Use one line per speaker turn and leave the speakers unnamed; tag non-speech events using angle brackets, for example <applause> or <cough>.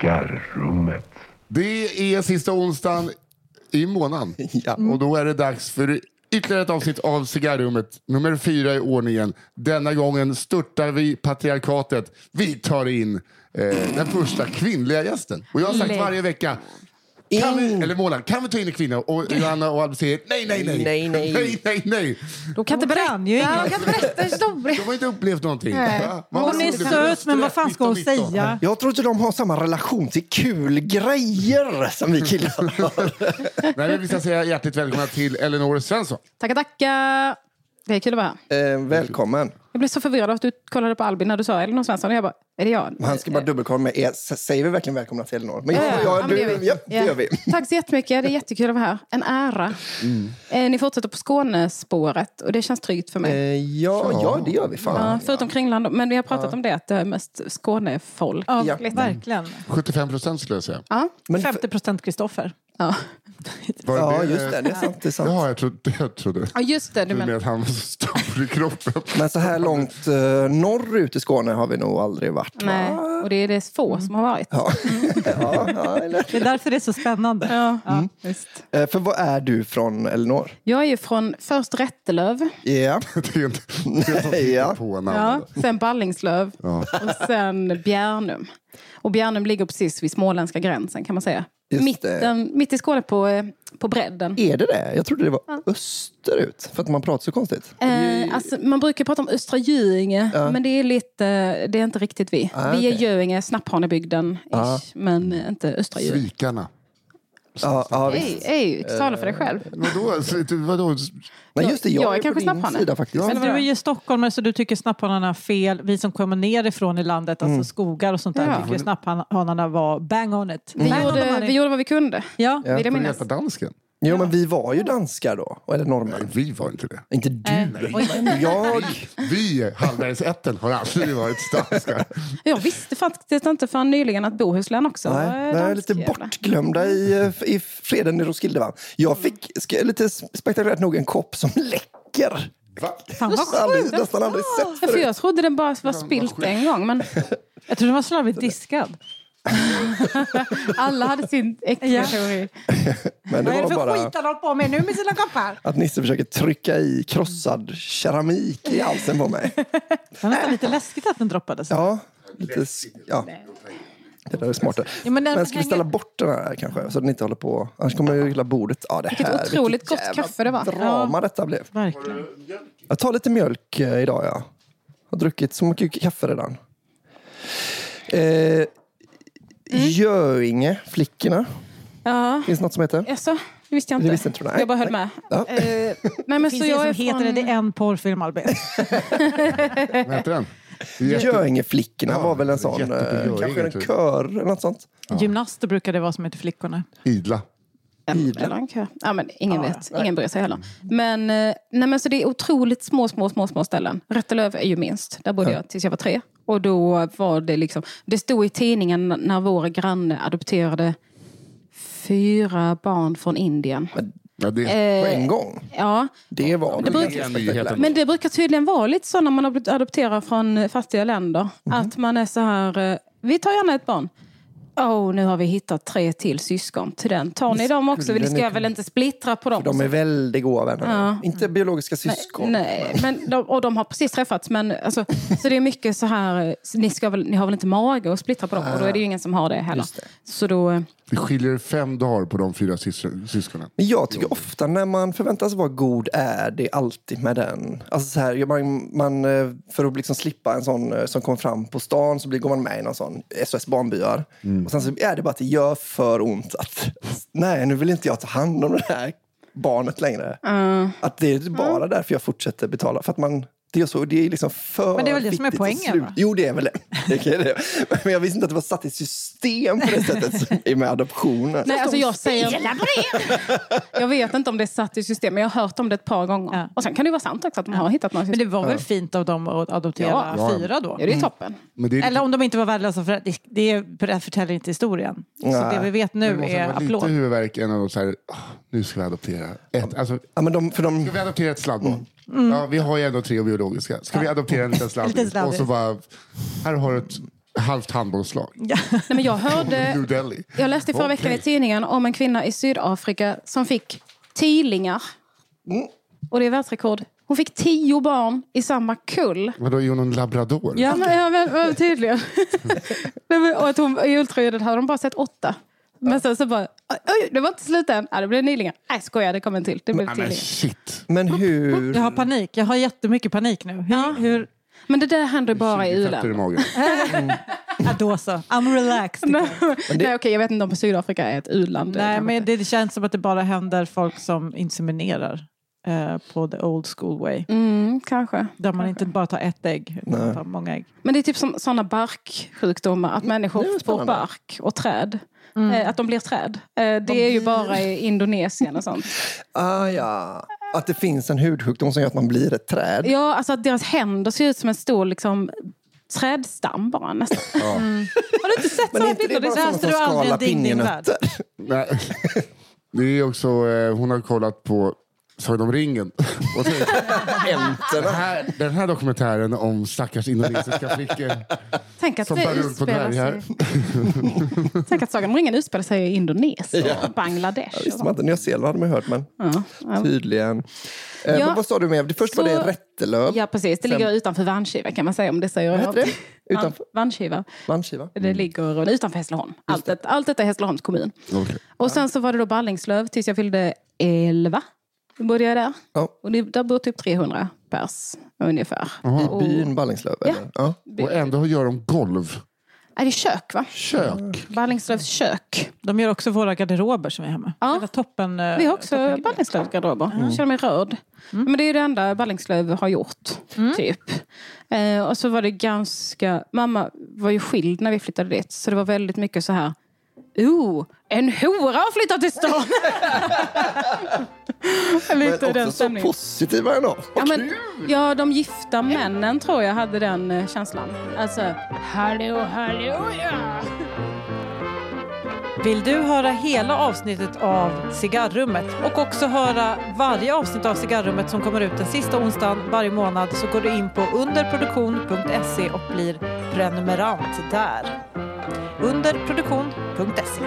Gitarrrummet.
Det är sista onsdagen i månaden.
<laughs> Ja.
Och då är det dags för ytterligare ett avsnitt av Cigarrummet. Nummer fyra i ordningen. Denna gången störtar vi patriarkatet. Vi tar in eh, den första kvinnliga gästen. Och jag har sagt
Lägg.
varje vecka. Kan vi, eller månaden, kan vi ta in en kvinna? Och Johanna och Albin säger nej, nej, nej.
Nej, nej.
<laughs> nej, nej, nej.
De kan inte
kan ju
berätta.
inget.
De kan inte berätta
De
historier.
har inte upplevt någonting. Va? Vad
Hon är
roligt.
söt, men vad fan ska hon
19, 19.
säga?
Jag tror inte de har samma relation till kul grejer som vi killar har.
Nej, men vi ska säga hjärtligt välkomna till Elinor Svensson.
Tackar, tackar. Eh, Det är kul att vara här.
<laughs> Eh, välkommen.
Jag blev så förvirrad av att du kollade på Albin när du sa Elinor Svensson. Och jag bara, är det jag?
Han ska bara dubbelkolla med er. S- Säger vi verkligen välkomna till Elinor? Men
Ja,
ja, ja,
ja, men det
du,
gör vi.
ja, det
Ja.
gör vi. Mm.
Tack så jättemycket. Det är jättekul att vara här. En ära. Eh, ni fortsätter på Skånespåret och det känns tryggt för mig.
Eh, Ja, ja, det gör vi
ja,
fan.
förutom Kringland. Men vi har pratat om det, att det är mest Skånefolk.
Ja,
Ja.
verkligen.
75 procent skulle jag säga.
Ja.
Men,
50 procent Kristoffer.
Ja.
Var
ja,
det-
just det. Det är sant. Det är sant.
Ja, jag trodde, jag trodde.
ja, just det. Du
Du menar
menar.
att han var så stor i kroppen?
Men så här långt eh, norrut i Skåne har vi nog aldrig varit. va?
Nej, och det är det få som har varit.
Ja. <laughs> ja, ja, eller?
Det är därför det är så spännande.
Ja, visst.
Eh, För vad är du från Elinor?
Jag är ju från först Rättelöv,
<laughs>
Ja.
Det är inte det är sånt
Nej, <laughs> ja.
på en
ja,
annan.
sen Ballingslöv
Ja.
och sen Bjärnum. Och Bjärnum ligger precis vid småländska gränsen kan man säga.
Just
Mitten, mitt i Skåne på, eh, på bredden.
Är det det? Jag trodde det var österut, för att man pratar så konstigt.
Eh, alltså, man brukar prata om Östra Göinge, men det är, lite, det är inte riktigt vi.
Ah,
vi är
okej.
Göinge, Snapphanebygden, ish,
Ah.
men eh, inte Östra Göinge.
Svikarna.
Ja, ja, visst.
Ej, ej, tala för dig
Eh,
själv.
Vadå? Så- du- vadå?
Men just det, jag,
jag är
är på
kanske
din
snapphane.
sida faktiskt.
Ja.
Men du är ju stockholmare så du tycker snapphanarna är fel. Vi som kommer nerifrån i landet, alltså skogar och sånt där,
Mm. Ja.
tycker snapphanarna var bang on it.
Vi,
Bang on the
gjorde,
money.
vi gjorde vad vi kunde,
Ja.
vill jag
Får du
minnas.
heta dansken?
Jo, men vi var ju danskar då, eller
Nej,
norrmän.
vi var inte det.
Inte
Äh,
du. men Jag,
Vi, Hallbergsätten, har aldrig varit danskar.
Jag visste faktiskt inte förrän nyligen att Bohuslän också var,
nej,
eh,
vi är
dansk
lite
jävla.
bortglömda i, eh, i freden i Roskilde. Va? Jag fick sk- lite spektakulärt nog en kopp som <laughs> läcker.
Va?
Fan vad
Jag har aldrig-
sjukt.
nästan aldrig sett
Ja, Ah, för
förut.
jag trodde den bara var spilt en gång, men
Jag trodde den var slarvigt diskad.
alla hade sin äckliga
Ja.
teori.
Men det
Vad är
var
det för
bara
skit han har på med nu med sina koppar?
att Nisse försöker trycka i krossad keramik i halsen på mig.
<laughs> Det var nästan lite läskigt att den droppades.
Ja, lite, sk- ja. Det där är smartare.
Ja,
men,
men den
ska vi ställa bort den här kanske? Så den inte håller på. Annars kommer jag gilla bordet. Ja, det
Vilket
här,
otroligt gott
jävla
kaffe det var.
drama detta blev.
Verkligen.
Jag tar lite mjölk eh, idag, ja. Har druckit så mycket kaffe redan. Eh, Göinge, flickorna.
Ja,
Finns det något som heter?
alltså, det visste jag inte.
Det visste inte du, nej.
Jag bara höll med.
Ja.
Eh, nej, men
Finns
så
det
jag
som
är
heter det?
från...
Det är en porrfilm, Albin.
Vad heter den? Jätte-
Göingeflickorna
Ja,
var väl en sån,
jätte på
eh,
Göinge,
kanske en
typ.
kör eller något sånt.
Gymnaster brukar det vara som heter flickorna.
Idla.
Eller en kö. Ja, men ingen vet. Ingen bryr sig heller. Men, eh, nej, men så det är otroligt små, små, små, små ställen. Rättelöv är ju minst. Där bodde jag tills jag var tre. Och då var det liksom... Det stod i tidningen när vår granne adopterade fyra barn från Indien.
Ja, det
På
Eh,
en gång.
ja,
Det var väl
brukar-
ganska spektakulärt.
men det brukar tydligen vara lite så när man ad- adopterar från eh, fattiga länder. Att man är så här, eh, vi tar gärna ett barn. Oh, nu har vi hittat tre till syskon till den. Tar ni dem också? Vi
ni
ska jag
kunna-
väl inte splittra på dem?
De är väldigt goda vänner. Inte biologiska syskon.
Nej, men de, och de har precis träffats. Men, alltså, så det är mycket så här, eh, ni, ska väl, ni har väl inte mage att splittra på dem? Och då är det ju ingen som har det heller. Så då, eh,
det skiljer fem dagar på de fyra sys- syskonen.
Men jag tycker ofta när man förväntas vara god är det alltid med den. Alltså så här, man, man, eh, för att liksom slippa en sån eh, som kommer fram på stan så blir, går man med i någon sån SOS Barnbyar. Och sen så är det bara att det gör för ont att nej, nu vill inte jag ta hand om det här barnet längre. Att det är bara därför jag fortsätter betala. För att man, det är, så, det är liksom för
Men det är väl det som är
viktigt att
poängen,
sluta.
va?
Jo, det är väl det. det, är det. Men jag visste inte att det var satt i system på det sättet som är med adoptionen.
nej, alltså jag säger... <laughs> Jag vet inte om det är satt i system, men jag har hört om det ett par gånger.
Ja.
Och sen kan det ju vara sant också att de har hittat några
Men det
syskon.
var väl fint av dem att adoptera
Ja.
Ja, ja.
fyra då?
Ja, det är ju toppen.
Men det är
Eller om de inte var värdelösa, för det, det det förtäljer inte historien. Så
Nej.
det vi vet
det
nu
måste
är
vara lite
applåd.
huvudvärk än att så här, "Ah, nu ska vi adoptera ett. Alltså,
Ja, men de, för de,
Ska vi adoptera ett sladdbarn? Ja, vi har ju ändå tre biologiska. Ska vi adoptera en <laughs> liten sladdning?
Liten sladdis.
Och så bara, här har du ett halvt handbollslag.
Nej, men jag
New
hörde...
Delhi.
Jag läste i förra veckan i
Okej.
tidningen om en kvinna i Sydafrika som fick tidlingar.
Mm.
Och det är världsrekord. Hon fick tio barn i samma kull.
Vadå, är hon en labrador?
Ja, men, ja, men,
<laughs>
men tydligen. Nej, men, och att hon, I ultraljudet hade de bara sett åtta. Men sen så bara, oj, oj, det var inte slut än. Ja, det blev nylingar. Nej, skoja, det kom en till. Det blev
Nej, men
tidlingar.
shit.
Men hur...
Jag har panik. Jag har jättemycket panik nu. Hur, hur,
Men det där händer bara i
20 fötter i
<laughs> u-länder.
magen.
ja, då så. I'm relaxed.
Nej, Nej, okej, jag vet inte om Sydafrika är ett u-land.
Nej, men det känns som att det bara händer folk som inseminerar eh, på the old school way.
Mm, kanske.
Där man inte bara tar ett ägg, utan man tar många ägg.
Men det är typ som sådana barksjukdomar,
Mm.
att människor får bark och träd. Eh, att de blir träd. Eh, det är ju bara i Indonesien
<laughs>
och sånt.
Ah, ja. Att det finns en hudsjukdom som gör att man blir ett träd.
Ja, alltså att deras händer ser ut som en stor liksom, trädstam bara nästan. Mm. Har du inte sett
Men är
sådana
inte det
bilder? Det
bara
är så
sådana
här-
som
läste du aldrig
skalar
en ding, din värld?
pinjenötter?
Nej. <laughs> Det är också, eh, hon har kollat på Sagan om ringen. <laughs> Och tänkt, den, här, den här dokumentären om stackars indonesiska flickor
Tänk att
som
det
bär runt på
utspelar sig...
dvärgar.
Tänk att Sagan om ringen utspelar sig i Indonesien, Bangladesh. och
Visste man
sånt.
inte. Nya Zeeland hade man ju hört, men
Ja, ja.
tydligen. Eh,
Ja.
Men vad sa du med? Först var
Så-
det Rättelöv.
ja, precis. Det ligger utanför Vagnkiva kan man säga om det säger
Vad heter det? Utanför? Mm.
Vagnkiva.
Landskiva.
Det ligger utanför Hässleholm. Allt, det. allt detta är Hässleholms kommun.
Okej.
Och sen så var det då Ballingslöv tills jag fyllde 11. Då bodde jag där.
Ja.
Och det, där bor typ 300 pers ungefär.
I byn Ballingslöv?
Mm. Ja.
eller? Ja.
Och ändå gör de golv.
Är det kök va?
Kök.
Ballingslövs kök.
De gör också våra garderober som är hemma.
Ja.
Hela toppen. eh,
Vi har också
toppen-
Ballingslövs garderober. Jag känner mig rörd.
Mm.
Men det är ju det enda Ballingslöv har gjort. Typ. Eh, och så var det ganska... Mamma var ju skild när vi flyttade dit. Så det var väldigt mycket så här... Oh, en hora har flyttat
<laughs>
till stan!
Men
Lite
också
den
så
stämningen.
positiva ändå.
Ja, men, ja, de gifta männen tror jag hade den eh, känslan. Alltså, hallå, hallå, ja.
Vill du höra hela avsnittet av Cigarrummet och också höra varje avsnitt av Cigarrummet som kommer ut den sista onsdagen varje månad så går du in på underproduktion.se och blir prenumerant där. Underproduktion.se